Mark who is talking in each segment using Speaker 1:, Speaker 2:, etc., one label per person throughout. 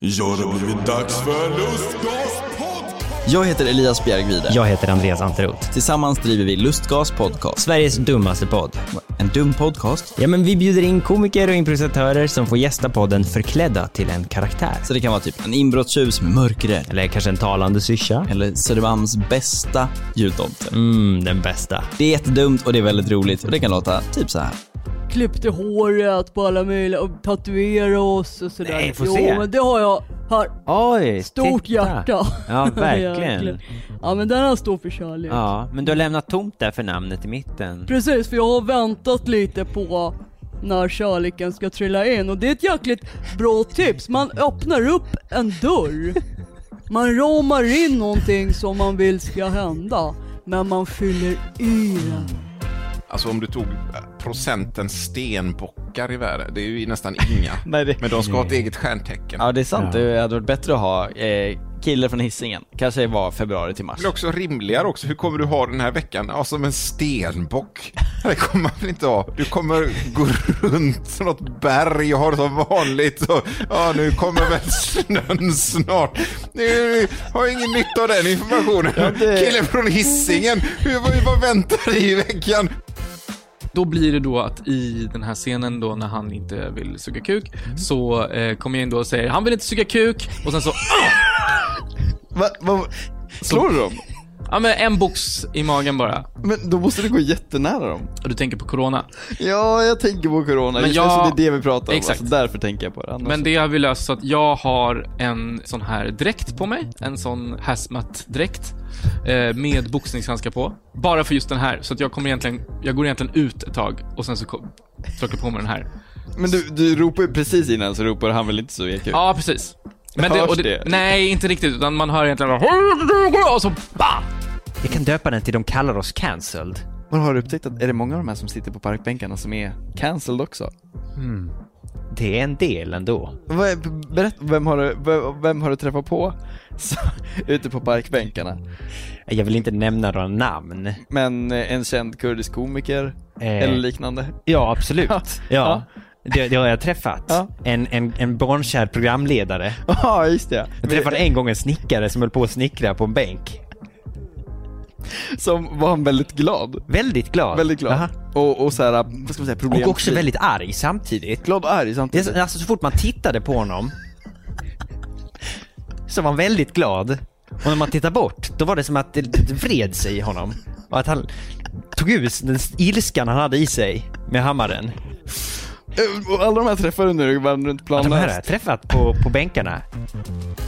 Speaker 1: Ja, det har blivit dags för Lustgas podcast!
Speaker 2: Jag heter Elias Bjergvide.
Speaker 3: Jag heter Andreas Anteroth.
Speaker 2: Tillsammans driver vi Lustgas podcast.
Speaker 3: Sveriges dummaste podd.
Speaker 2: En dum podcast,
Speaker 3: Ja, men vi bjuder in komiker och improvisatörer som får gästa podden förklädda till en karaktär.
Speaker 2: så det kan vara typ en inbrottstjuv som är mörkrädd.
Speaker 3: Eller kanske en talande syrsa.
Speaker 2: Eller Södermalms bästa jultomte.
Speaker 3: Mm, den bästa.
Speaker 2: Det är jättedumt och det är väldigt roligt och det kan låta typ så här.
Speaker 4: klippte håret på alla möjliga och tatuerade oss och sådär.
Speaker 3: Nej, få se.
Speaker 4: Jo, men det har jag här.
Speaker 5: Oj,
Speaker 4: Stort
Speaker 5: titta.
Speaker 4: hjärta.
Speaker 5: Ja,
Speaker 4: Verkligen.
Speaker 5: verkligen.
Speaker 4: Ja, men den har stor för kärlek.
Speaker 5: Ja, men du har lämnat tomt där för namnet i mitten.
Speaker 4: Precis, för jag har väntat lite på när kärleken ska trilla in och det är ett jäkligt bra tips. Man öppnar upp en dörr. Man ramar in någonting som man vill ska hända. Men man fyller i den.
Speaker 6: Alltså om du tog procenten stenbockar i världen, det är ju nästan inga.
Speaker 2: Nej, det-
Speaker 6: Men de ska ha ett eget stjärntecken.
Speaker 2: Ja, det är sant. Det hade varit bättre att ha eh, kille från hissingen. Kanske var februari till mars.
Speaker 6: Det är också rimligare också, hur kommer du ha den här veckan? Ja, som en stenbock. Det kommer man väl inte ha. Du kommer gå runt som något berg och ha det som vanligt. Och, ja, nu kommer väl snön snart. Nu har jag ingen nytta av den informationen. Killen från hissingen, hur, vad, vad väntar dig i veckan?
Speaker 7: Då blir det då att i den här scenen då när han inte vill suga kuk
Speaker 2: Mm.
Speaker 7: så eh, kommer jag in då och säger han vill inte suga kuk och sen så ah!
Speaker 2: Va, va, slår du dem?
Speaker 7: ja men en box i magen bara.
Speaker 2: Men då måste du gå jättenära dem.
Speaker 7: Och du tänker på corona.
Speaker 2: Ja, jag tänker på corona.
Speaker 7: Men Just jag- eftersom det är
Speaker 2: vi pratar
Speaker 7: om. Exakt. Alltså,
Speaker 2: därför tänker jag på det.
Speaker 7: Men det har vi löst så att jag har en sån här dräkt på mig, en sån hazmat-dräkt eh, med boxningshandskar på. Bara för just den här så att jag kommer egentligen, jag går egentligen ut ett tag och sen så ko- plockar jag på mig den här.
Speaker 2: Men du, du ropar ju precis innan så ropar han väl inte så mycket.
Speaker 7: Ja, precis. Men
Speaker 2: Hörs
Speaker 7: och
Speaker 2: det?
Speaker 7: Nej, inte riktigt utan man hör egentligen bara och så bam!
Speaker 5: Vi kan döpa den till De kallar oss cancelled.
Speaker 2: Men har du upptäckt att är det många av de här som sitter på parkbänkarna som är cancelled också?
Speaker 5: Det är en del ändå.
Speaker 2: Vad är- Berätta, vem har du, vem, vem har du träffat på så, ute på parkbänkarna?
Speaker 5: Jag vill inte nämna några namn. Eh,
Speaker 2: Men eh, en känd kurdisk komiker eller liknande?
Speaker 5: Ja, absolut. Ja.
Speaker 2: Ja.
Speaker 5: Det, det har jag träffat.
Speaker 2: Ja.
Speaker 5: En, en, en barnkär programledare.
Speaker 2: Ja, just det.
Speaker 5: Jag träffade en gång en snickare som höll på att snickra på en bänk.
Speaker 2: Som var han väldigt glad.
Speaker 5: Väldigt glad.
Speaker 2: Väldigt glad.
Speaker 5: Aha.
Speaker 2: Och, och så här, vad ska man säga, problem.
Speaker 5: Och också väldigt arg samtidigt.
Speaker 2: glad och arg
Speaker 5: Det är,
Speaker 2: samtidigt.
Speaker 5: så- alltså så fort man tittade på honom så var han väldigt glad. Och när man tittar bort, då var det som att det, det vred sig i honom. Och att han tog ut den ilskan han hade i sig med hammaren.
Speaker 2: Eh, Och alla de här träffar du nu, vann runt
Speaker 5: Att de här har
Speaker 2: planlöst.
Speaker 5: jag träffat på, på bänkarna.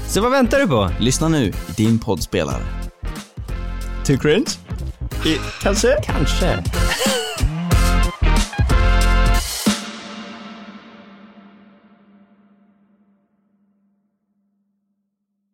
Speaker 5: Så vad väntar du på?
Speaker 2: Lyssna nu i din poddspelare. Too cringe?
Speaker 5: Kanske.